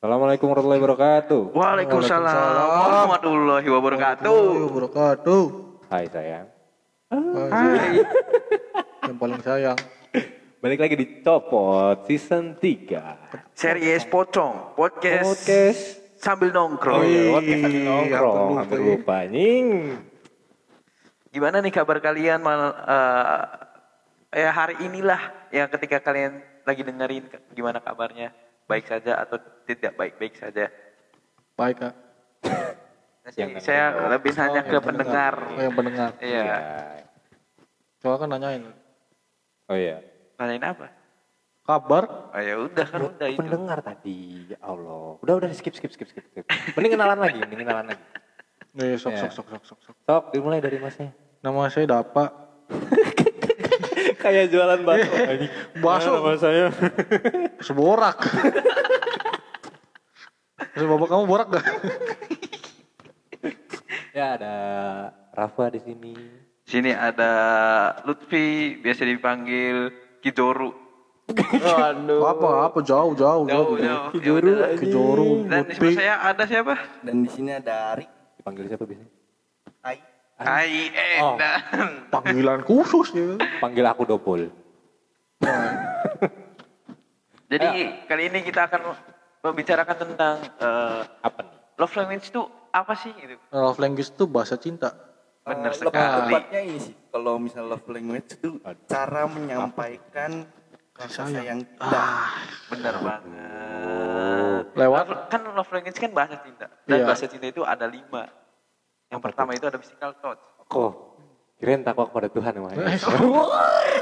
Assalamualaikum warahmatullahi wabarakatuh. Waalaikumsalam warahmatullahi wabarakatuh. wabarakatuh. Hai sayang. Ah. Hai. Yang paling sayang. Balik lagi di Copot Season 3. Series Pocong Podcast Podcast. sambil Oh nongkrong. iya, podcast sambil nongkrong. hampir lupa, Hampir iya. lupa, nying. Gimana nih kabar kalian mal eh, eh, hari inilah ya ketika kalian lagi dengerin ke- gimana kabarnya? Baik saja atau tidak baik-baik saja? Baik, Kak. Nah, sih, Yang saya pendengar. lebih nanya Oh, ke yang pendengar. Oh, yang pendengar. Iya. Ya. Coba kan nanyain. Oh iya. Nanyain apa? Kabar? Oh ya udah kan udah itu. Pendengar tadi, ya Allah. Udah udah skip skip skip skip. skip. Mending kenalan lagi, mending kenalan lagi. Nih, sok, Iya. sok, sok, sok, sok, sok. Sok, dimulai dari masnya. Nama saya Dapa. Kayak jualan bakso. Bakso. Nama saya. Seborak. Terus bapak kamu borak gak? Ya ada Rafa di sini. Sini ada Lutfi biasa dipanggil Kidoru. Waduh. apa, apa, jauh, jauh, jauh. Jauh, jauh. Ya udahlah. Kijuru. Kijoro, Dan di sebelah Putih. saya ada siapa? Dan di sini ada Arik. Dipanggil siapa biasanya? Hai. Ai Oh. Enda. Panggilan khusus ya. Panggil aku Dopol. Jadi kali ini kita akan membicarakan tentang eh, Apa nih? love language itu apa sih gitu. Love language itu bahasa cinta. Benar Eh, sekali. Tepatnya ini sih. Kalau misalnya love language itu cara menyampaikan rasa sayang kita. Benar banget. Lewat Kan love language kan bahasa cinta. Dan Iya. bahasa cinta itu ada lima. Yang pertama itu ada physical touch. Kok? Kirain takwa kepada Tuhan ya, yang Maha Iya. Esa. Eh,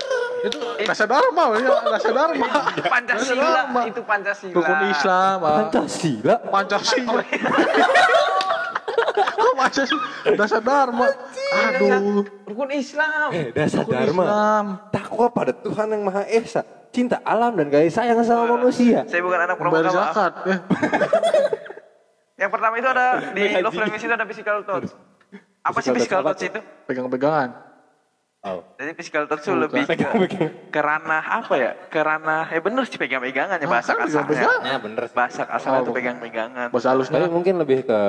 itu rasa dharma ya, rasa dharma. Pancasila Islam. itu Pancasila. Rukun Islam, Eh, ah. Pancasila. Pancasila. Kok Pancasila? Dasar Dharma. Aduh. Iya, Rukun Islam. Eh, dasar Rukun dharma. Islam. Takwa pada Tuhan yang Maha Esa. Cinta alam dan kasih sayang sama manusia. Saya bukan anak Membayar pramuka. maaf. zakat. Eh, Yang pertama itu ada di love language itu ada physical touch. Apa Physical sih physical touch touch apa itu? pegang-pegangan. Oh. Jadi physical touch tuh lebih ke, ke ranah apa ya? Ke ranah ya bener sih pegang-pegangan ya bahasa Kan kasarnya. pegang-pegangan. bener sih. Bahasa kasarnya Oh, tuh bukan. pegang-pegangan. Bahasa halusnya. Tapi mungkin lebih ke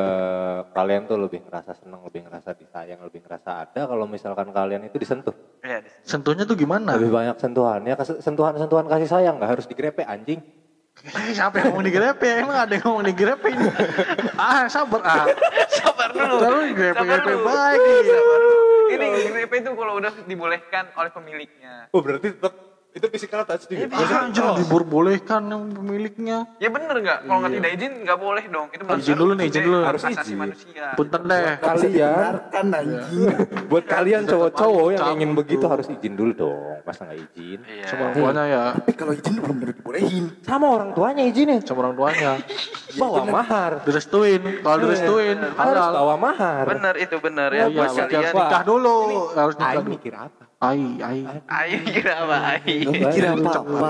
kalian tuh lebih ngerasa seneng, lebih ngerasa disayang, lebih ngerasa ada kalau misalkan kalian itu disentuh. Iya, di sini. Sentuhnya tuh gimana? Lebih banyak sentuhan. Ya kes- sentuhan-sentuhan kasih sayang nggak harus digrepe anjing. Eh, Siapa yang ngomong digrepe? Emang ada yang ngomong digrepe ini? Ah, sabar ah. Sabar dulu. Terus grepe-grepe Sabar dulu. baik. Sabar dulu. Ini grepe itu kalau udah dibolehkan oleh pemiliknya. Oh berarti tetap itu physical touch juga. kan Jangan diperbolehkan yang pemiliknya. Ya bener nggak? Kalau nggak tidak izin nggak boleh dong. Itu melanggar Iya. Izin dulu nih, izin dulu. Harus Harus asasi izin. manusia. Punten deh. Kalian Dengarkan anjing. buat kalian cowok-cowok yang Cabut ingin tuh. begitu harus izin dulu dong. Masa nggak izin? Iya. Sama orang tuanya ya. Tapi kalau izin belum tentu dibolehin. Sama orang tuanya izinin. Sama orang tuanya. Bawa mahar. Direstuin. Kalau Iya. direstuin, Harus halal. Oh bawa mahar. Bener itu bener ya. Iya, Buat berarti kalian. harus nikah dulu. Harus nikah Aing dulu. mikir apa? Ai, ai. Ayo kira apa? Iya. Ayo. Kira apa?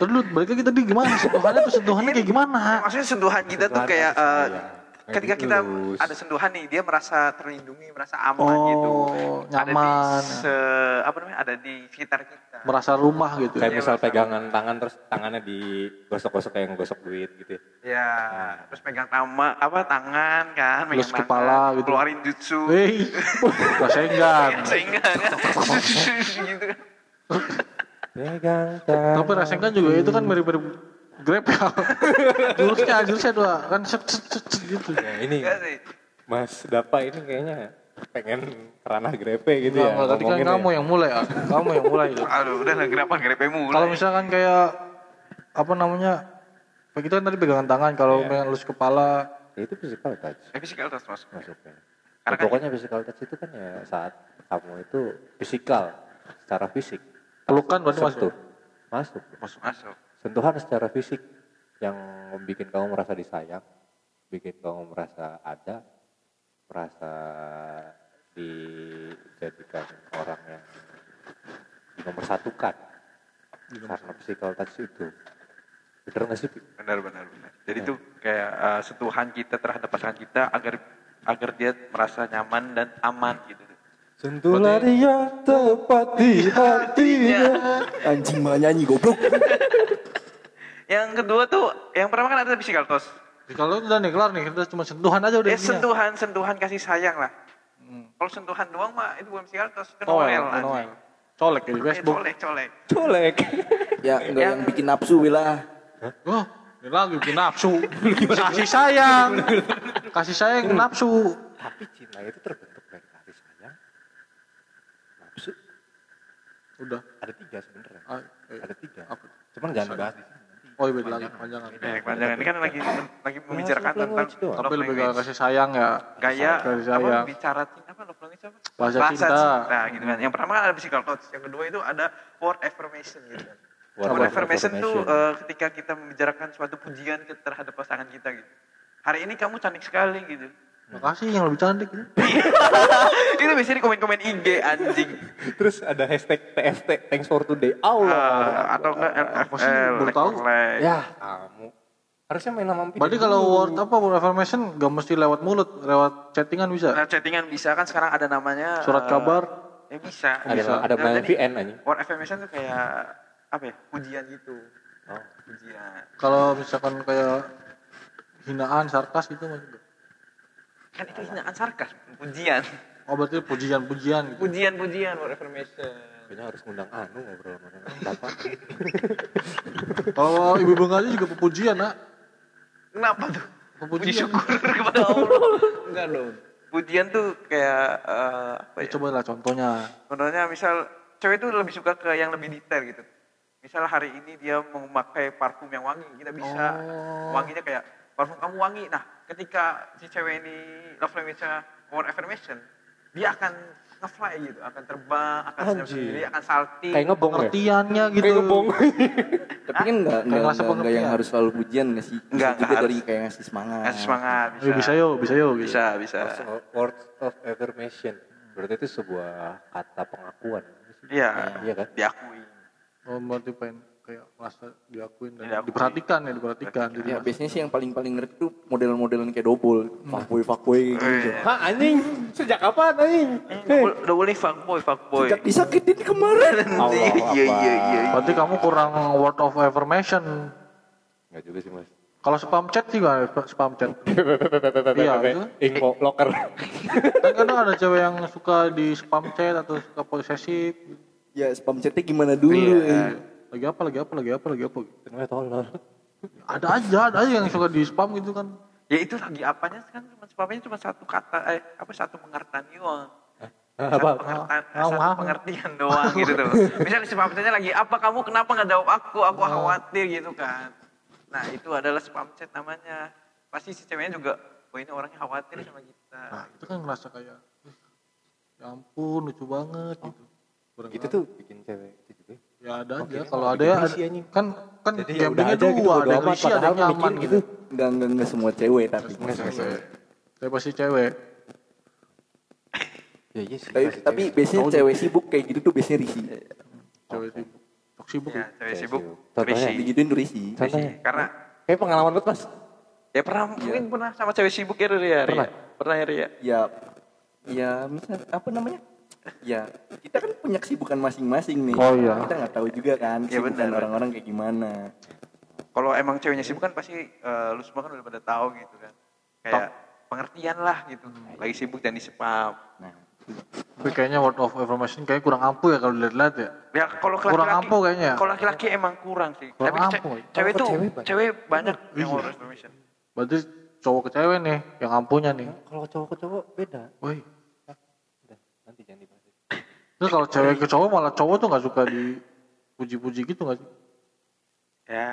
Terus lu balik lagi tadi gimana? Sentuhannya tuh sentuhannya kayak gimana? Ya, maksudnya sentuhan kita tuh Sentuhan kayak kasih eh, sayang. ketika Kayak gitu. kita dielus. ada sentuhan nih dia merasa terlindungi merasa aman Oh, gitu ada nyaman. di se- apa namanya ada di sekitar kita Merasa rumah gitu. Kayak Iya, misal Mas. pegangan tangan terus tangannya digosok-gosok kayak ngegosok duit gitu. ya. ya terus pegang tama apa tangan kan pegang Elus tangan, kepala gitu. keluarin jutsu Hei, rasenggan. sehingga kan gitu kan Pegang tangan. Tapi rasenggan juga itu kan mirip-mirip grab ya. jurusnya, jurusnya dua kan set set set, set gitu. Nah, ini Enggak Iya sih Mas Dapa ini kayaknya pengen ranah grepe gitu ya. Nah, tadi kan ngomongin kamu ya. yang mulai, ah. kamu yang mulai. gitu. aduh udah lah kenapa grepe mulai Kalau misalkan kayak apa namanya? Begitu kan tadi pegangan tangan, kalau yeah. lus kepala, Ya, itu physical touch eh, physical touch masuk masuknya. Karena Ya, kan- pokoknya physical touch itu kan ya saat kamu itu fisikal secara fisik. pelukan berarti masuk. Sentuh. Masuk. masuk masuk sentuhan secara fisik yang bikin kamu merasa disayang, bikin kamu merasa ada, merasa dijadikan orang yang dipersatukan karena physical touch itu. Bener gak sih? Pi? benar benar benar jadi Iya. itu kayak eh, sentuhan kita terhadap pasangan kita agar agar dia merasa nyaman dan aman gitu Sentuhlah dia tepat di hatinya. Iya. Anjing malah nyanyi goblok. Yang kedua tuh, yang pertama kan ada physical touch. Kalau udah nih kelar nih, udah cuma sentuhan aja udah. Eh, intinya. sentuhan, sentuhan kasih sayang lah. Kalau sentuhan doang mah itu bukan physical touch, itu Noel, noel. anjing. Hmm. Oh, Noel. Colek ya di Eh, Facebook. colek, colek. Colek. Ya enggak yang bikin nafsu Wila. Wah, ini lagi bikin nafsu. Kasih sayang. Kasih sayang nafsu. Tapi cinta itu terbentuk dari kasih sayang. Nafsu Udah. ada tiga sebenarnya. Ah, eh, Ada tiga. apa? Cuman jangan bahas di sini. Oh iya beda lagi panjangan. Eh, panjangan ini kan lagi lagi membicarakan Bahasa tentang language doang. love Tapi lebih ke language. kasih sayang ya. gaya Kasih iya. apa sayang. bicara cinta apa love language apa? Bahasa cinta. Nah, gitu kan. Yang pertama kan ada physical touch, yang kedua itu ada word affirmation gitu kan. Word Word, affirmation, affirmation. tuh eh, ketika kita membicarakan suatu pujian ke- terhadap pasangan kita gitu. Hari ini kamu cantik sekali gitu. Makasih yang lebih cantik. ya. itu biasanya di komen-komen IG anjing. eh, Terus ada hashtag TFT thanks for today. Eh, Allah. atau enggak eh, Apa sih? eh, Baru like tahu. or like. ya, kamu. Harusnya main sama Mpin Berarti dulu. kalau word apa word affirmation gak mesti lewat mulut, lewat chattingan bisa. Nah, chattingan bisa kan sekarang ada namanya Surat eh, kabar. Ya bisa. ada Bisa. ada Nah, main jadi- VN anjing. Word affirmation tuh kayak apa ya? Pujian gitu. Oh. Pujian. Kalau misalkan kayak hinaan, sarkas gitu masih nggak? Kan itu hinaan sarkas, pujian. Oh berarti pujian-pujian gitu. Pujian-pujian word affirmation. Kayaknya harus ngundang Anu ngobrol sama Bapak. Kalau ibu bunga aja juga pepujian nak. Kenapa tuh? Puji Pepujian. syukur kepada Allah. Enggak dong. Pujian tuh kayak eh, apa ya? Coba lah contohnya. Contohnya misal cewek tuh lebih suka ke yang lebih detail gitu. Misal hari ini dia memakai parfum yang wangi, kita bisa wanginya kayak parfum kamu wangi. Nah, ketika si cewek ini love language-nya word affirmation, dia akan nge-fly gitu, akan terbang, akan senyum Anjir. sendiri, akan salting. Kayak ngebong ya. Pengertiannya gitu. Kayak ngebong. Tapi kan enggak ngerasa enggak, enggak, enggak yang pengertian. harus selalu pujian enggak sih? Bisa Enggak, juga enggak dari harus. kayak ngasih semangat. Kasih semangat, bisa. Eh, bisa yo, bisa yo. Gitu. Bisa, bisa. Words of affirmation. Berarti itu sebuah kata pengakuan. Iya, Iya kan? diakui. Oh, berarti pengen kayak merasa diakuin dan Diakui. diperhatikan ya, diperhatikan. Jadi Ya biasanya sih yang paling-paling ngerti tuh model-modelan kayak dobol, fuckboy fuckboy gitu. Eh, Hah anjing, sejak kapan anjing? nggak bol- nggak boleh fuckboy, fuckboy. Sejak disakitin kemarin. Allah Iya, iya, iya. berarti kamu kurang word of affirmation. Enggak juga sih mas. Kalau spam chat juga ada sp- spam chat. Iya, itu. Info locker. Kan kadang ada cewek yang suka di spam chat atau suka posesif. Ya spam chatnya gimana dulu? eh. Lagi apa, lagi apa, lagi apa, lagi apa. Ternyata tolol. Ada aja, ada aja yang suka di spam gitu kan. Ya itu lagi apanya kan cuma sebabnya cuma satu kata eh apa satu pengertian doang. Apa? Satu pengertian, Ah, satu ah. pengertian doang gitu tuh. Misalnya sebabnya lagi apa kamu kenapa nggak jawab aku? Aku Oh. khawatir gitu kan. Nah, itu adalah spam chat namanya. Pasti si ceweknya juga oh ini orangnya khawatir sama kita. Nah, itu kan ngerasa kayak "Ih, ya ampun lucu banget gitu. Kurang Oh. Gitu aja. tuh bikin cewek itu juga. Ya ada aja Oke, kalau mau ada bikin ya puisi, anjing. kan kan Jadi ya udah gambingnya aja gitu dua, bodo ada amat klise, ada padahal yang nyaman mikir gitu. gitu. Enggak enggak enggak semua cewek tapi. Saya pasti cewek. Ya iya sih. Tapi, pasti Eh, tapi cewek. biasanya cewek sibuk kayak gitu tuh biasanya risih. Cewek sibuk. Sok sibuk. Ya, cewek sibuk. gitu. Contohnya? Risi. Digituin gitu tuh risih. contohnya. Karena Kayak pengalaman lu mas. ya pernah mungkin pernah sama cewek sibuk ya Ria. Ria? Iya. Pernah. Pernah ya Ria. Ya ya misal apa namanya? Ya kita kan punya kesibukan masing-masing nih. Oh, iya. Kita nggak tahu juga kan Iya, kesibukan benar, benar. orang-orang kayak gimana. Kalau emang ceweknya sibuk kan pasti eh, lu semua kan udah pada tahu gitu kan. Kayak pengertian lah gitu. Lagi sibuk dan di spam. Nah, Tapi kayaknya word of affirmation kayaknya kurang ampuh ya kalau dilihat-lihat ya. Ya kalau laki-laki Kurang ampuh kayaknya. Kalau laki-laki emang kurang sih. Kurang Tapi ce- ampuh. cewek Kalau tuh cewek cewek banyak. banyak, Iya. yang word of affirmation. Berarti cowok ke cewek nih yang ampuhnya nih. Kalau cowok ke cowok beda. Woi. Udah, nanti jangan dibahas. Terus kalau cewek ke cowok malah cowok tuh nggak suka dipuji-puji gitu nggak sih? Ya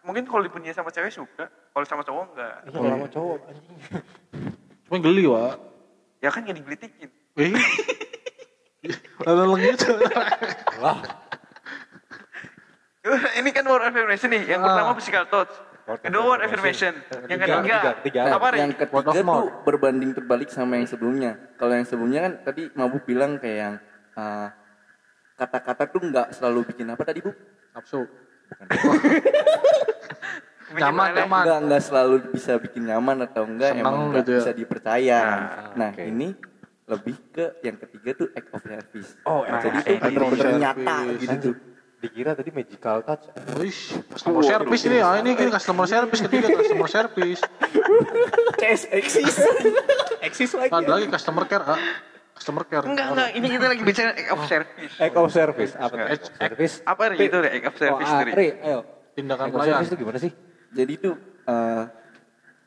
mungkin kalau dipunya sama cewek suka, kalau sama cowok enggak. Iya kalau sama cowok anjing. Cuma geli wa. Ya kan nggak digelitikin. Eh. Lalu gitu. Wah. Ini kan word of affirmation nih. Ah. Yang pertama physical touch. Word of Kedua word of affirmation. affirmation. Yang Tiga, ketiga, tiga, tiga. Nah, apa yang nih? ketiga Word of tuh mouth. berbanding terbalik sama yang sebelumnya. Kalau yang sebelumnya kan tadi Mabuk bilang kayak yang ah, kata-kata tuh nggak selalu bikin apa tadi Bu? Nafsu. Bikin nyaman, meleleh. nyaman. Nggak nggak selalu bisa bikin nyaman atau enggak Seneng emang nggak gitu ya. bisa dipercaya. Nah, Nah, oke. ini lebih ke yang ketiga tuh act of service. Nah, Oh, Jadi jadi tuh ini bener-bener service. nyata gitu tuh. di dikira tadi magical touch Wih, Oh, customer service iya. ini. Ah, ini kan customer service ketiga customer service. Cash eksis. eksis lagi. Ada lagi customer care, ah. Customer care. Enggak, enggak. Ini kita lagi bicara act of service. act of Eh, service apa tuh act of service Apa Ri? Itu Ri, act of Ah, service oh, ah, Ri. Ri, ayo Tindakan act of pelayan. service itu gimana sih Jadi itu eh,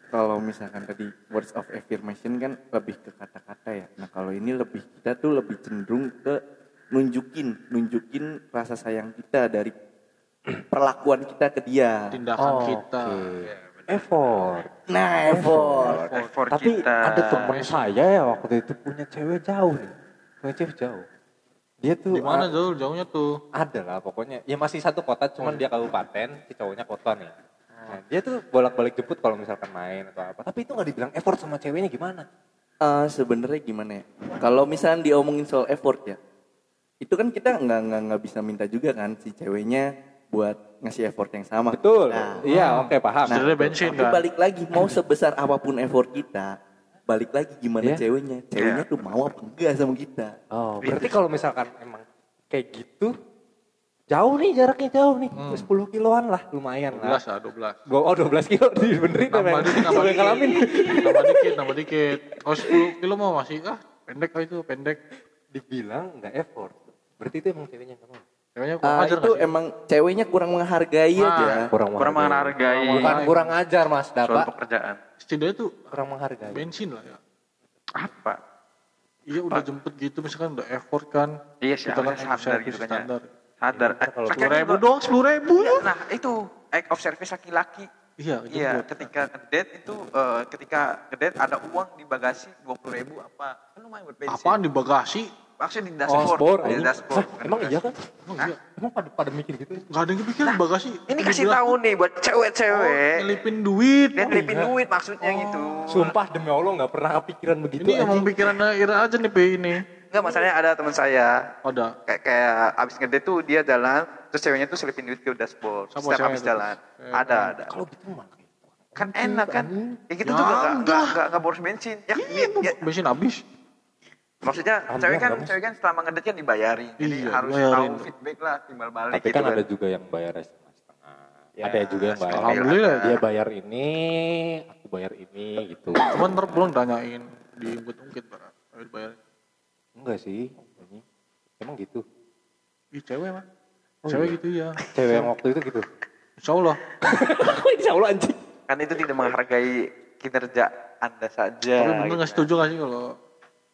kalau misalkan tadi words of affirmation kan lebih ke kata-kata ya. Nah kalau ini lebih kita tuh lebih cenderung ke nunjukin, nunjukin rasa sayang kita dari perlakuan kita ke dia. Tindakan kita. oke. effort Nah effort. Effort tapi kita. ada teman saya ya waktu itu punya cewek jauh nih punya cewek jauh dia tuh Di ah, mana jauh jauhnya tuh? ada lah pokoknya ya masih satu kota Oh, cuman iya. dia kabupaten si cowoknya kota nih Nah, dia tuh bolak-balik jemput kalau misalkan main atau apa tapi itu nggak dibilang effort sama ceweknya gimana Eh, Sebenarnya gimana ya? Kalau misalkan diomongin soal effort ya, itu kan kita nggak nggak nggak bisa minta juga kan si ceweknya buat ngasih effort yang sama. betul Nah, iya oke paham Nah, Sebenarnya bensin tapi kan. balik lagi mau sebesar apapun effort kita, balik lagi gimana Iya. ceweknya. Ceweknya tuh mau apa enggak sama kita. oh Gitu. berarti kalau misalkan emang kayak gitu jauh nih jaraknya jauh nih 10 kiloan lah lumayan lah ah, 12 lah, 12. Gua- oh 12 kilo dibenerin ya, Nambah men. dikit, Sampai nambah dikit. ngalamin Nambah dikit, nambah dikit. Oh 10 kilo mau masih ah pendek lah itu pendek. dibilang nggak effort berarti itu emang ceweknya nggak mau Ceweknya kurang Ah, ajar itu nggak sih? emang ceweknya kurang menghargai Nah. aja. kurang kurang menghargai bukan kurang ajar mas suatu Dapa pekerjaan. setidaknya tuh kurang menghargai bensin lah ya. Apa? Iya udah jemput gitu misalkan udah effort kan. Iya sih, Kita kan harusnya sadar gitu kan ya. standar. Sadar. Iya, kalau Laki-laki Sepuluh ribu juga- dong, sepuluh ribu. Nah, itu act of service laki-laki. Iya, Oh, Iya, jemput. ketika ngedate itu eh, ketika ngedate ada uang di bagasi 20.000 ribu apa? Kan lumayan buat bensin. Apaan di bagasi? Maksudnya di Oh, dashboard. sport, di anjing. dashboard. Hah, bukan emang bagasi. iya kan? Emang Hah? iya. Emang pada pada mikir gitu ya? Gak ada yang kepikiran bagasi. Ini kasih Gila. tahu nih buat cewek-cewek. Nyelipin duit. Dia ngelipin duit maksudnya gitu. Oh, Sumpah demi Allah nggak pernah kepikiran begitu Ini emang anjing. pikiran Ira aja nih P ini. Enggak masalahnya ada teman saya Ada. kayak kayak abis ngedate tuh dia jalan terus ceweknya tuh selipin duit ke dashboard Sama setiap cewek abis itu. jalan Eh, ada ada Kalau gitu mah. kan enak kan ya gitu Ya juga nggak udah. nggak nggak nggak boros bensin ya, Iya, ya- ya. bensin habis. maksudnya Alhamdulillah, cewek kan bagus. cewek kan selama ngedate kan dibayarin jadi Iya, harus dibayarin. tahu feedback lah timbal balik Tapi gitu kan ada juga yang bayar setengah setengah. Ada juga yang Ya, bayar. Alhamdulillah. Dia bayar ini, aku bayar ini gitu. Cuman ntar pulang tanyain di ungkit-ungkit barat. Ayo dibayar. Enggak sih. anjing. Emang gitu. Ih cewek mah. Cewek gitu ya. Cewek yang waktu itu gitu. Insya Allah. Insya Allah anjing. kan itu tidak menghargai kinerja anda saja Tapi bener gitu. gak setuju gak sih kalau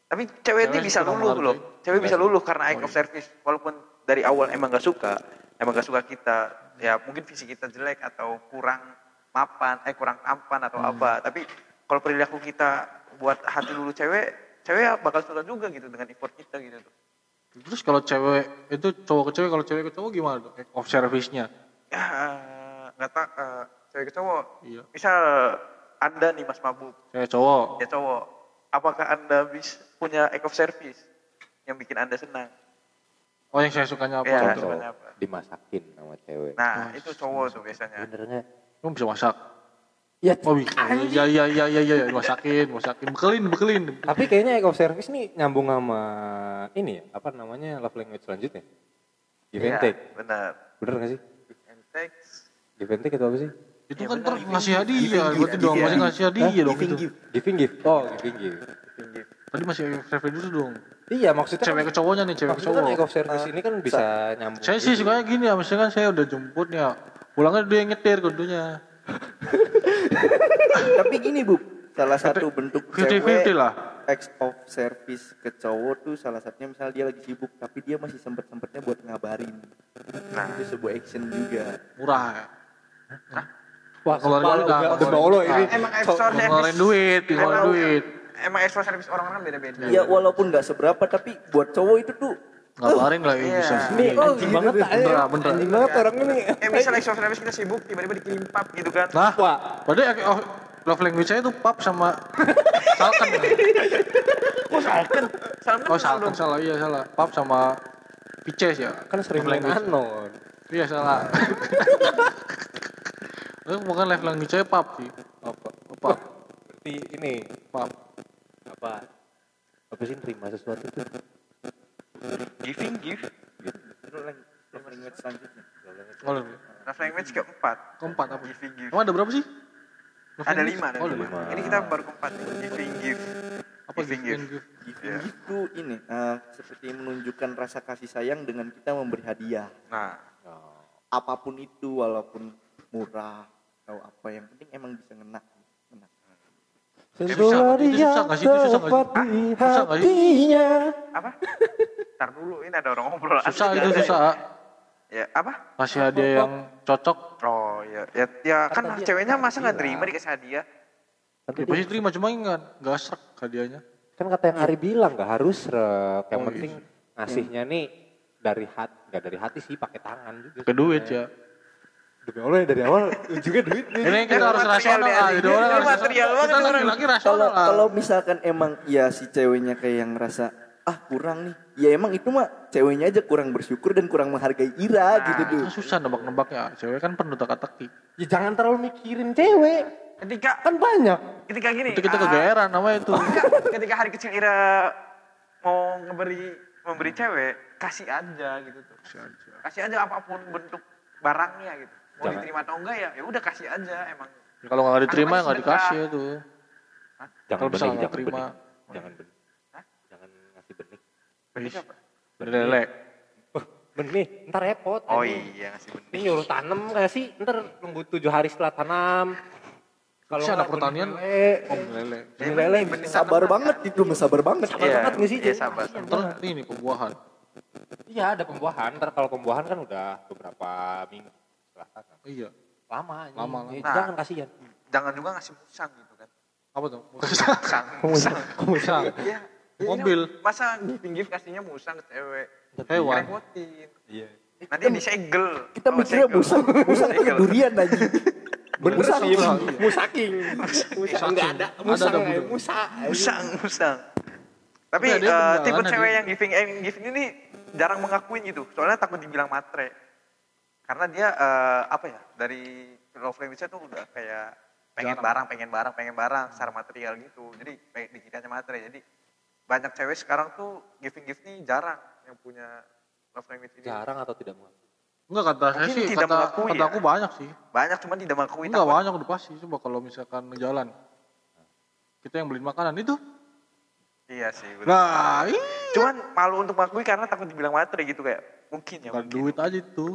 tapi cewek ini Cewek bisa suka luluh menghargai. loh cewek bisa luluh karena act of service walaupun dari awal emang gak suka emang gak suka kita ya mungkin visi kita jelek atau kurang mapan eh kurang tampan atau apa tapi kalau perilaku kita buat hati lulu cewek cewek ya bakal suka juga gitu dengan effort kita gitu tuh Terus kalau cewek itu cowok ke cewek kalau cewek ke cowok gimana dong? Act Of service-nya. ya nggak tak eh, cewek ke cowok Iya. misal anda nih mas mabuk Cewek cowok. ya cowok apakah anda bisa punya act of service yang bikin anda senang Oh yang saya sukanya apa? Iya. Cowok. Cowok Sebenarnya apa? dimasakin sama cewek. nah itu cowok tuh biasanya Bener nggak? Kamu bisa masak? Ya. Oh iya, iya, iya, iya, iya, iya, masakin, masakin, bekelin, bekelin. Tapi kayaknya act of service nih nyambung sama ini ya, apa namanya love language selanjutnya? Give and take. Iya, benar. Bener gak sih? Give and take. Give and take itu apa sih? Itu Ya, kan ter ngasih hadiah, berarti dong, masih ngasih Hah? hadiah dong Giving itu. gift. Giving gift. Oh, giving gift. Tadi masih survei dulu dong. Iya, maksudnya Cewek ke cowoknya nih, cewek ke maksudnya kan act cowok. of service ini kan bisa nyambung. gitu. Saya sih sukanya gini ya, misalkan saya udah jemput nih ya, pulangnya dia yang nyetir kudunya. Tapi gini Bu, salah satu bentuk 50-50 cewek lah. acts of service ke cowok tuh salah satunya misalnya dia lagi sibuk tapi dia masih sempet-sempetnya buat ngabarin. Nah, itu sebuah action juga. Murah ya. Wah, keluar kepala juga. udah demi Allah ini. Emang extra service. Ngeluarin duit, ngeluarin Emang- duit. Iya. Emang extra service orang-orang beda-beda. Ya walaupun nggak seberapa tapi buat cowok itu tuh Ngabarin lah ya Iya. bisa. Nih, anjing banget Bener, tanya. bener. Anjing banget orang ini. Eh misal extra service kita sibuk tiba-tiba dikirim pap gitu kan. Nah, Wah. padahal act of- love language saya itu pap sama salken. Salam Oh kenal salken dong. salah, iya salah. Pap sama Pices ya. Kan sering Love main language. anon. Iya salah. Itu bukan live language saya pap sih. Apa? Pap, Berarti ini pap. apa? Apa sih terima sesuatu tuh? Giving gift. Terus lagi, terus lagi, language selanjutnya. Oh, lu dulu. Love language keempat. keempat apa? Giving gift. Emang ada berapa sih? Ada lima, ada Oh, lima. lima. Ini kita baru keempat nih. Giving gift. Apa Giving giving gift. gift? Iya. Giving gift tuh ini eh, seperti menunjukkan rasa kasih sayang dengan kita memberi hadiah. Nah, Apapun itu walaupun murah atau apa yang penting emang bisa ngena. ngena. Eh, Sentuhan Itu susah- itu susah nggak sih? Itu susah nggak sih? dapat Hah? di Susah nggak sih? hatinya. apa? Ntar dulu, ini ada orang ngobrol. Susah Asli, itu ada. susah. Ya, apa? Kasih hadiah yang cocok. Oh, ya. Ya, ya kan Kata dia, ceweknya masa nggak gila. terima dikasih hadiah? Nanti Ya, dia- pasti terima cuma enggak enggak serak hadiahnya. kan kata yang Ari bilang nggak harus rek. Yang Iya. Oh, penting ngasihnya nih dari hati, nggak dari hati sih pakai tangan juga. Ke duit ya. Demi Allah ya, dari awal ujungnya duit nih. Ini kita Ini harus material rasional deh, ah, anjing. hidup orang Ini harus material rasional. banget Kita nih orang. laki-laki Kalau rasional. ah. kalau misalkan emang ya si ceweknya kayak yang ngerasa ah kurang nih. Ya emang itu mah ceweknya aja kurang bersyukur dan kurang menghargai Ira Nah. gitu tuh. Kan susah nebak-nebaknya, cewek kan penuh teka-teki. Ya jangan terlalu mikirin cewek. Ketika, Kan banyak. ketika gini. Itu kita ah, kegeeran namanya itu. ketika- ketika hari kecil Ira mau ngeberi memberi cewek, kasih aja gitu tuh. Kasih aja apapun bentuk barangnya gitu. Mau Jangan. diterima atau enggak ya, ya udah kasih aja emang. Kalau nggak Anak diterima ya nggak masih sedekah. dikasih itu. Jangan Kalau bisa benih, nggak jangan terima. benih. Jangan benih. Hah? Jangan ngasih benih. Oh, Benih apa? Lelek. Benih, ntar repot. Oh anjing. iya ngasih benih. Ini nyuruh tanam nggak sih? Ntar nunggu tujuh hari setelah tanam. Si nggak anak pertanian, benih lele. om lelek. Benih lele benih kan? Sabar tanaman, banget itu, mah sabar banget. Sabar Iya, banget nggak sih? iya, Cewek? sabar. Iya, Ntar ini pembuahan. Iya ada pembuahan. Ntar kalau pembuahan kan udah beberapa minggu setelah tanam. Iya. Lama. anjing. Lama, Ya, lama. Jangan kasihan. Jangan juga ngasih musang gitu kan. Apa tuh? Musang, musang. Musang. Iya. iya, Mobil. Masa pinggir kasihnya musang ke cewek. Hewan. Repotin. Iya. Nanti disegel. Kita Oh, mikirnya segel. musang, musang tuh Segel. durian aja. Bener Musang, sih, musang. musaking. Musang enggak ada, musang ada, eh, Bu. musa. Musang, Iya. musang. Tapi Tapi ada yang eh, beneran, tipe ada cewek yang- yang giving and giving ini jarang mengakuin gitu. Soalnya takut dibilang matre. Karena dia eh, apa ya? Dari love language-nya tuh udah kayak pengen barang, pengen barang, pengen barang secara material gitu. Jadi pengen dikitanya matre. Jadi banyak cewek sekarang tuh giving gift nih jarang yang punya love language ini. Jarang atau tidak mau? Enggak kata saya Mungkin sih, tidak kata, mengakui kata ya. aku banyak sih. Banyak cuman tidak mengakui Enggak takut. banyak udah pasti coba kalau misalkan jalan. Kita yang beliin makanan itu. Iya sih. betul. Nah, ih. Cuman malu untuk mengakui karena takut dibilang matre gitu kayak mungkin ya. Bukan mungkin. duit aja itu.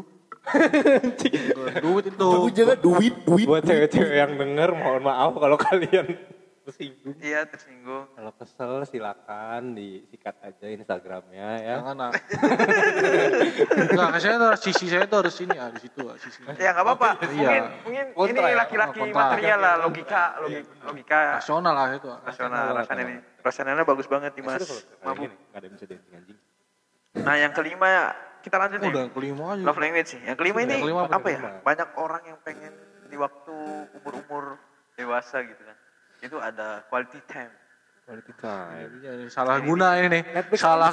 Bukan duit itu. juga duit, duit. Buat cewek-cewek yang denger mohon maaf kalau kalian tersinggung. Iya tersinggung. Kalau kesel silakan disikat aja Instagramnya ya. Jangan ah. Enggak, kan saya tuh harus- sisi saya tuh harus ini ah di situ ah, sisinya. Ya nggak apa-apa. Iya. Mungkin mungkin Kontra ini ya? laki-laki Oh, kontra. material lah, logika, logi- logika Rasional lah itu. ah. rasional rasanya ini. Rasanya bagus banget nih Mas. Mabuk. Enggak ada yang bisa dancing anjing. Nah, yang kelima kita lanjut nih. Udah yang kelima aja. Love language sih. Yang kelima ini Yang kelima apa apa nih? ya? Banyak orang yang pengen di waktu umur-umur dewasa gitu kan. Itu ada quality time. Quality time. Iya, ini salah guna ini nih. Salah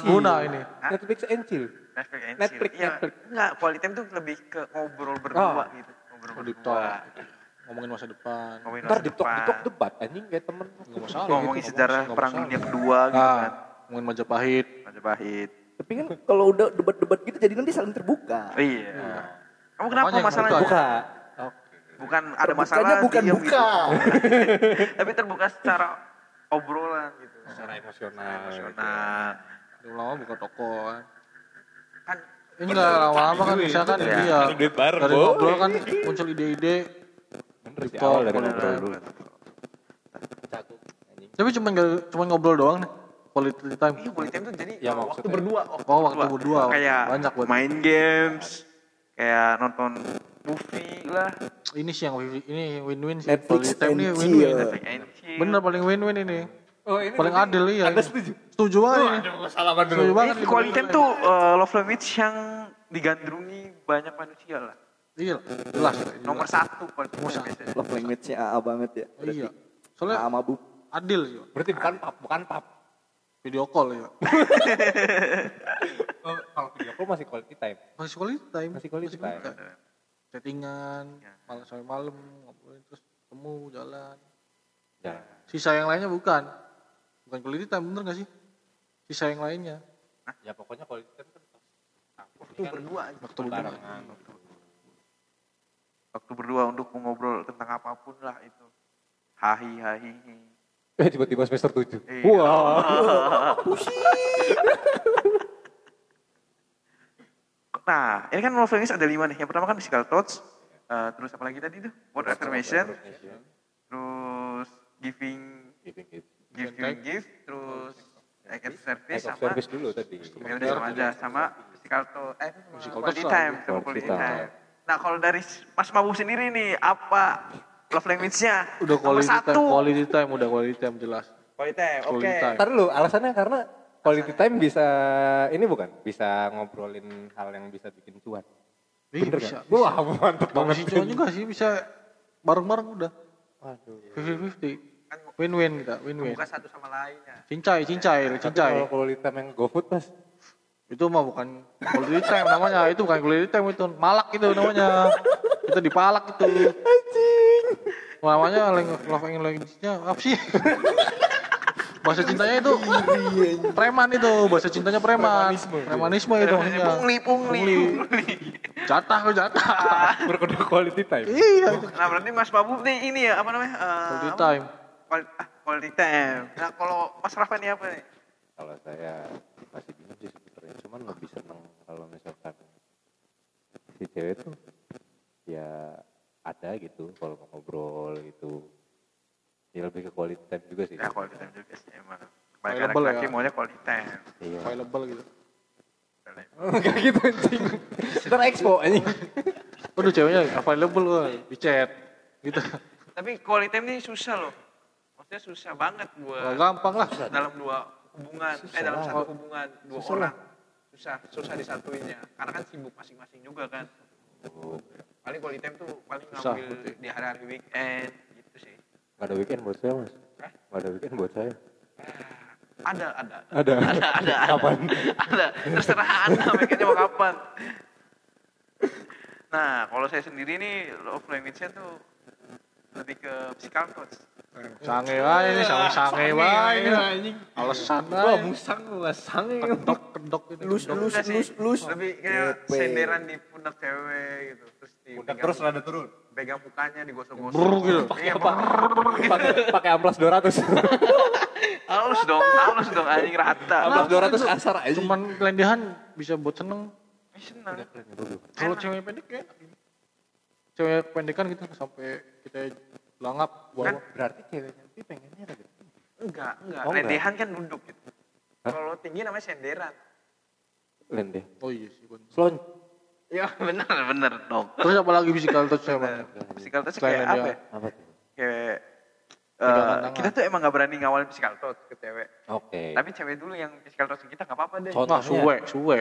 and chill. guna ini. Ah. Netflix and chill. Netflix and Netflix, chill. Iya, Netflix. enggak, quality time tuh lebih ke ngobrol berdua Oh. gitu. Ngobrol Oh, di berdua. Ngomongin masa depan. Ngomongin Ntar masa di talk di depan. talk debat anjing kayak temen. Enggak masalah. ngomongin gitu, sejarah nggak perang masalah. dunia kedua gitu Ah, kan. ngomongin Majapahit. Majapahit. Tapi kan kalau udah debat-debat gitu jadi nanti saling terbuka. Iya. Kamu kenapa Makanya yang masalahnya? terbuka. Buka. Oke. Bukan ada Terbukanya masalah bukan diam buka. Tapi terbuka secara obrolan gitu. Nah, Secara Ah, emosional. gitu. Emosional. Udah lama buka toko kan. Kan Eh, Enggak lama-lama kan misalkan Iya. iya. Cari duit bareng, Dari Boy. ngobrol kan muncul ide-ide Bener sih Di awal talk, dari bener. ngobrol dulu. Cakep. Anjing. Tapi cuma cuma ngobrol doang nih. Quality time. Iya, quality time tuh jadi Ya, waktu maksudnya. berdua. Oh, waktu berdua. Kayak Banyak buat- main games, kayak nonton movie lah, Ini sih yang win- ini win-win sih. Netflix Quality time and ini iya. chill. win-win. Netflix and chill. Bener paling win-win ini. Oh, ini Paling berarti adil iya. Anda ini. setuju? Setuju banget ini. Salaman dulu. Setuju banget. Ini quality time tuh eh, love language yang digandrungi banyak manusia lah. Iya, jelas. Nomor satu quality Nomor time satu. biasanya. Love language-nya AA banget ya. jelas. Iya. Soalnya AA Soalnya mabuk. adil sih. Berarti bukan pap, bukan pap. Video call ya. Oh, kalau video call masih quality time. Masih quality time. Masih quality time. Ya. Chattingan, malam sampai malam ngobrolin terus ketemu jalan. Jangan. Sisa yang lainnya bukan. Bukan quality time bener gak sih? Sisa yang lainnya. Ya pokoknya quality time kan harus campur nih. waktu berdua aja. Waktu berdua. barengan. Waktu berdua untuk mengobrol tentang apapun lah itu. Hahi hahi. Eh tiba-tiba semester 7. Iya. Wah. Nah, ini kan love language ada lima nih. Yang pertama kan physical touch, eh, terus apa lagi tadi tuh? Word affirmation, terus giving give giving give, terus act of service Act of sama service dulu tadi. Ya udah sama aja sama physical touch, eh Physical quality touch lah. time, sama quality Quality time. Nah, kalau dari Mas Mabu sendiri nih apa love language-nya? Udah Nomor quality time, satu. quality time, udah quality time jelas. Quality time, oke. Quality time. Ntar dulu, alasannya karena quality time bisa ini bukan? Bisa ngobrolin hal yang bisa bikin cuan. Ih, Bener Iya, bisa, kan? Wah, mantep Bang banget. si cowok juga sih bisa bareng-bareng udah. Waduh. 50-50. Win-win kita, win-win. Bukan satu sama lainnya. Cincai, cincai, Tapi kalau cincai. quality time yang GoFood, Mas. Itu mah bukan quality time namanya, itu bukan quality time itu. Malak itu namanya. Itu dipalak itu. Namanya lang- love and language-nya apa sih? bahasa cintanya itu preman itu bahasa cintanya preman Iya, premanisme itu maksudnya Pungli, pungli. jatah kok jatah Berkedok quality time. iya Nah, berarti Mas Babu nih ini ya apa namanya? Eh, quality apa? time Qual- ah, Quality time. Nah, kalau Mas Rafa nih apa nih? Kalau saya masih bingung sih sebenarnya, cuman lebih seneng kalau misalkan si cewek tuh ya ada gitu kalau mau ngobrol gitu. Ya lebih ke quality time juga sih. Ya quality time juga sih emang. Available Banyak laki-laki ya. maunya quality time. Iya. available gitu Kayak gitu anjing. Ntar expo anjing. aduh ceweknya available loh di chat gitu Tapi quality time ini susah loh. Maksudnya susah banget buat Nggak gampang lah dalam dua hubungan, eh dalam satu hubungan dua orang. Susah, susah disatuinnya. Karena kan sibuk masing-masing juga kan. Paling quality time tuh paling Susah, ngambil betul. di hari-hari weekend gitu sih. Gak ada weekend buat saya mas. Hah? Gak ada weekend buat saya. Ada, ada. Ada. ada ada ada. Kapan? ada terserah anda mikirnya mau kapan nah kalau saya sendiri nih love language nya tuh lebih ke physical touch sange wae ini sange sange wae ini alasan wae musang mas sange. kedok kedok gitu Lus, kedok. lus, Enggak sih. lus, lus. lebih kayak Kepe. senderan di pundak cewek gitu terus di pegang- Terus rada turun. pegang mukanya digosok-gosok Brrr gitu. iya brrr. Pakai pakai amplas 200. halus dong halus dong anjing rata Amplas 200 kasar anjing. cuman lendehan bisa buat seneng Ih, seneng kalau cewek pendek ya cewek pendekan gitu sampai kita langap bawah Berarti ceweknya nanti pengennya rada enggak enggak Oh, enggak. lendehan kan duduk gitu Hah? kalau tinggi namanya senderan Lendeh. oh iya sih bener. Slon. ya bener bener dong terus apa lagi physical touch saya Bang? physical touch kayak Selain apa ya? lendehan. Apa tuh? kayak Pegangan eh, tangan. kita tuh emang gak berani ngawalin physical touch ke cewek. Oke. Tapi cewek dulu yang physical touch ke kita gak apa-apa Iya. deh. Contoh. Wah, suwe, suwe.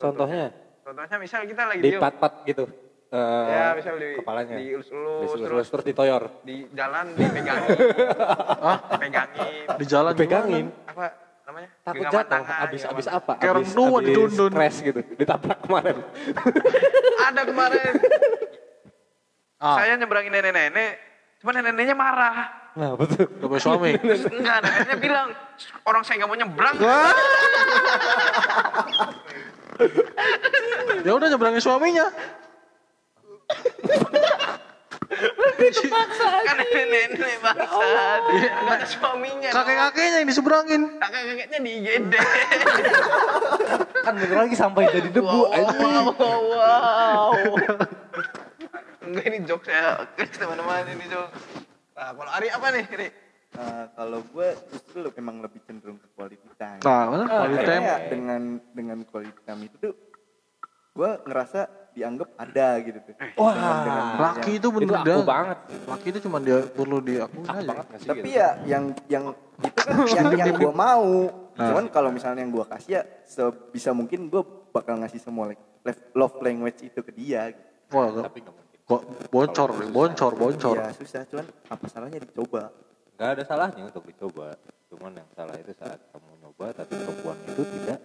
Contohnya Contohnya misal kita lagi di diem. pat-pat gitu. Eh, ya misal di, kepalanya. dielus-elus, Terus terus terus ditoyor. di jalan dipegangin. Dipegangin. Di jalan Dipegangin. gimana? apa namanya? Takut Genggaman jatuh. tangan, Abis genggaman abis apa? Kayak Abis, orang tua abis didundun. crash gitu. Ditabrak kemarin. Ada kemarin. Ah, Saya nyeberangin nenek-nenek. Cuman nenek-neneknya marah. Nah betul. udah punya suami. Terus enggak, neneknya bilang. Orang saya gak mau nyebrang. ya udah nyebrangin suaminya. Kan nenek-nenek Ya bangsat. Gak ada suaminya. dong. Kakek-kakeknya yang diseberangin. Kakak-kakaknya di IGD. Kan bentar lagi sampai jadi debu. anjing. wow, wow, wow. Enggak ini jokes ya, guys teman-teman ini jokes. Nah, kalau Ari apa nih, Ari? Eh, kalau gue justru le- emang lebih cenderung ke quality time. Nah, mana Ah, quality Karena time. ya dengan dengan quality time itu tuh gue ngerasa dianggap ada gitu tuh. Wah. iya. Laki itu gitu. Itu bener aku dah. banget. Laki itu cuma dia perlu diakuin aja. Banget nggak sih Tapi gitu? ya yang yang itu kan yang yang gue mau. Ah. Cuman kalau misalnya yang gue kasih ya sebisa mungkin gue bakal ngasih semua like, love- love language itu ke dia. Gitu. Wah, gak- bo- bocor, nih, bocor, bocor. Iya susah cuman apa salahnya dicoba. nggak ada salahnya untuk dicoba cuman yang salah itu saat kamu nyoba tapi perempuan itu tidak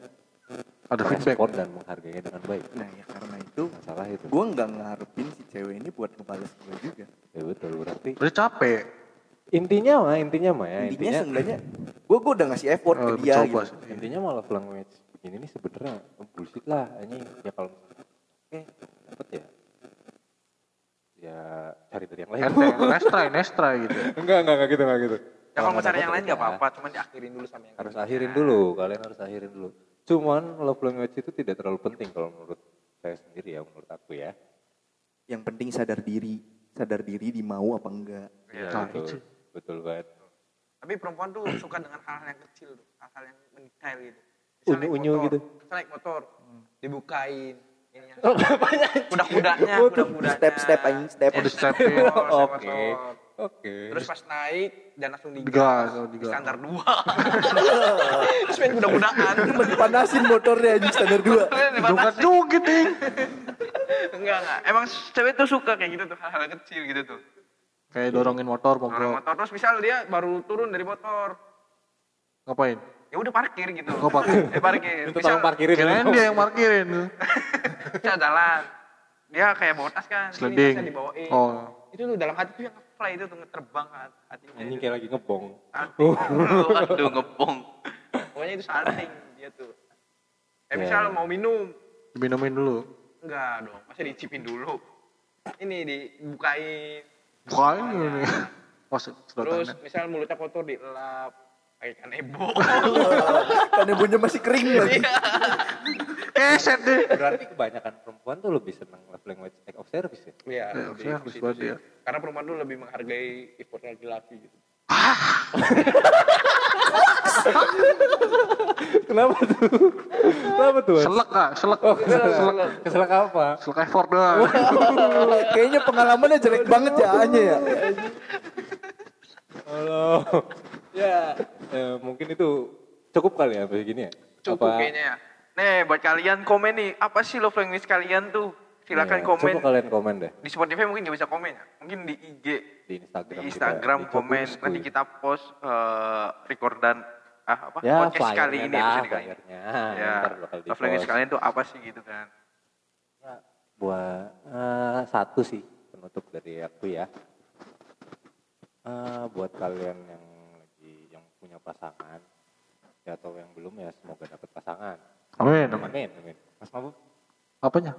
Ada feedback. merespon dan menghargainya dengan baik Nah ya karena itu masalah itu gue nggak ngarepin si cewek ini buat ngebales gue juga. ya betul berarti Udah capek. intinya mah intinya mah ya intinya intinya seenggaknya gue gue udah ngasih effort Eh, ke dia Nah, coba gitu. sih. intinya malah language ini nih sebenarnya oh, bullshit lah anjing ya kalau eh dapet ya ya cari dari yang lain Next try, next try, next try gitu. enggak enggak enggak gitu enggak gitu Ya kalau mau cari dapet, yang lain udah. nggak apa-apa, cuman diakhirin dulu sama yang harus akhirin dulu kalian harus akhirin dulu cuman love language itu tidak terlalu penting kalau menurut saya sendiri ya menurut aku ya Yang penting sadar diri, sadar diri di mau apa enggak. Iya. Nah, Ya, betul betul banget Tapi perempuan tuh suka dengan hal-hal yang kecil, tuh, hal-hal yang mendetail gitu. naik Unyu-unyu motor, gitu. misal naik motor, dibukain. ya. Ininya. Kuda-kudanya, kuda-kudanya. Step-step anjing, step. Oh, di step. oke oke Terus pas naik dan langsung digas. Digas, oh, digas. Di standar dua. Terus main kuda-kudaan. Panasin motornya anjing standar 2. Joget joget ding. Enggak, enggak. Emang cewek tuh suka kayak gitu tuh, hal-hal kecil gitu tuh. Kayak dorongin motor Orang mogok. motor terus misal dia baru turun dari motor. Ngapain? Ya udah parkir gitu. Oh, parkir. Eh parkir. minta tolong parkirin Kirain dia yang parkirin. Misal jalan. Dia kayak bawa tas kan. sini Sliding. tasnya dibawain. Oh. Itu tuh dalam hati tuh yang nge-play itu tuh terbang kan hatinya. anjing itu. kayak lagi ngebong Salting. Aduh ngepong. Pokoknya itu salting dia tuh. Eh Ya. misal mau minum. Minumin dulu. Enggak dong. Masa dicipin dulu. Ini dibukain. Bukain ini. Oh, Wah, Terus sedotannya. misal mulutnya kotor dielap. Pakai kanebo. Karena bunyinya masih kering lagi. Keset Eh, deh. berarti kebanyakan perempuan tuh lebih senang love language act of service ya Iya, lebih Ya, ke harusnya harus situ banget sih. ya. Karena perempuan tuh lebih menghargai effort laki-laki gitu. kenapa tuh kenapa tuh Selek kak, selek. Selek. keselak apa Selek effort doang. Kayaknya pengalamannya jelek banget ya Anya ya. Halo. ya, eh, mungkin itu cukup kali ya sampai gini ya. Cukup Apa- kayaknya ya. Nih, buat kalian komen nih, apa sih love language kalian tuh? Silakan Iya, komen. Coba kalian komen deh Di Spotify mungkin nggak bisa komen ya. Mungkin di IG, di Instagram. di kita. Instagram Di komen. Jokung's Nanti Quiz. kita post eh, recordan ah, apa? ya, podcast kali ini, ya, episode kali ini. flyernya. Ya, Ntar bakal di love language post. kalian tuh apa sih gitu kan. Ya, Buat eh, satu sih penutup dari aku ya. Eh, buat kalian yang lagi yang punya pasangan ya atau yang belum ya semoga dapat pasangan. Amin, Amin, amin. amin. Mas Mabuk, Apanya?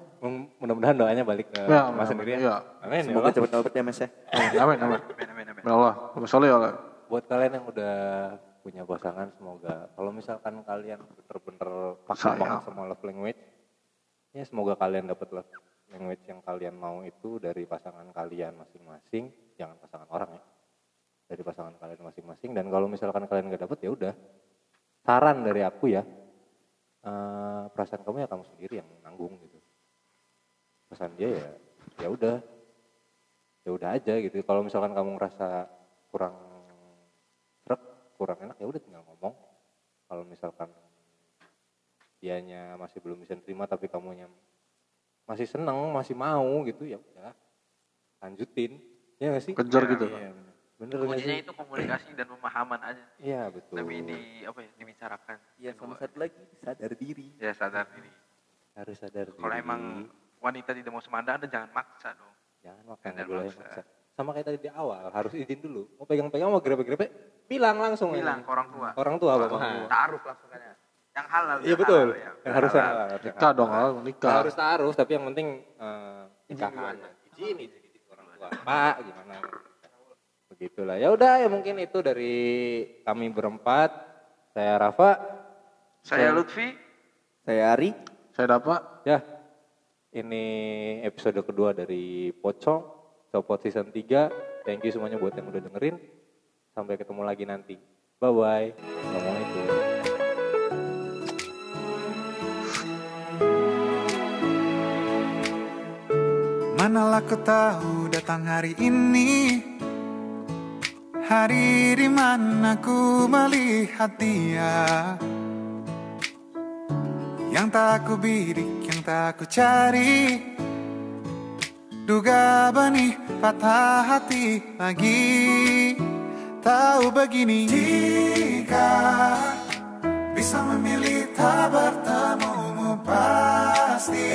mudah-mudahan doanya balik ke Ya, Mas amin, sendiri amin, ya. ya. Amin. ya Semoga Allah. cepat dapet ya Mas ya. Amin, Eh, amin. amin. Amin, amin, amin. Ya Allah, Assalamualaikum ya Allah. buat kalian yang udah punya pasangan semoga kalau misalkan kalian bener-bener paksa Sayang. banget sama love language ya semoga kalian dapat love language yang kalian mau itu dari pasangan kalian masing-masing jangan pasangan orang ya dari pasangan kalian masing-masing dan kalau misalkan kalian nggak dapet ya udah saran dari aku ya eh, perasaan kamu ya kamu sendiri yang nanggung gitu pesan dia ya ya udah ya udah aja gitu kalau misalkan kamu ngerasa kurang seret kurang enak ya udah tinggal ngomong kalau misalkan dianya masih belum bisa terima tapi kamunya masih seneng masih mau gitu ya udah lanjutin ya nggak sih Kejar gitu. Iya, bener. bener nggak Kuncinya sih itu komunikasi dan pemahaman aja. iya betul Lebih di apa ya, dibicarakan. Iya sama satu lagi sadar diri. Ya sadar diri. harus sadar Kalau diri. emang wanita tidak mau semanda, Anda jangan maksa dong. jangan makan nggak Jangan boleh maksa. maksa sama kayak tadi di awal harus izin dulu mau pegang-pegang mau grepe-grepe bilang langsung ya. Bilang ke orang tua. orang tua apa Taruh langsung aja. Yang halal. Iya yang betul. Iya, halal, ya. Yang harus halal. Nikah dong, Al, Nggak nikah. harus taruh tapi yang penting eh nikah aja. Izin izin izin orang tua. Pak gimana? Begitulah. Ya udah ya mungkin itu dari kami berempat. Saya Rafa. Saya Lutfi. Saya Ari. Saya dapat Ya. Ini episode kedua dari Pocong Copot Season 3. Thank you semuanya buat yang udah dengerin. Sampai ketemu lagi nanti. Bye bye. Assalamualaikum. Manalah ku tahu datang hari ini Hari di mana ku melihat dia Yang tak aku bidik, yang tak aku cari Duga benih patah hati lagi Tahu begini Jika bisa memilih tak bertemumu pasti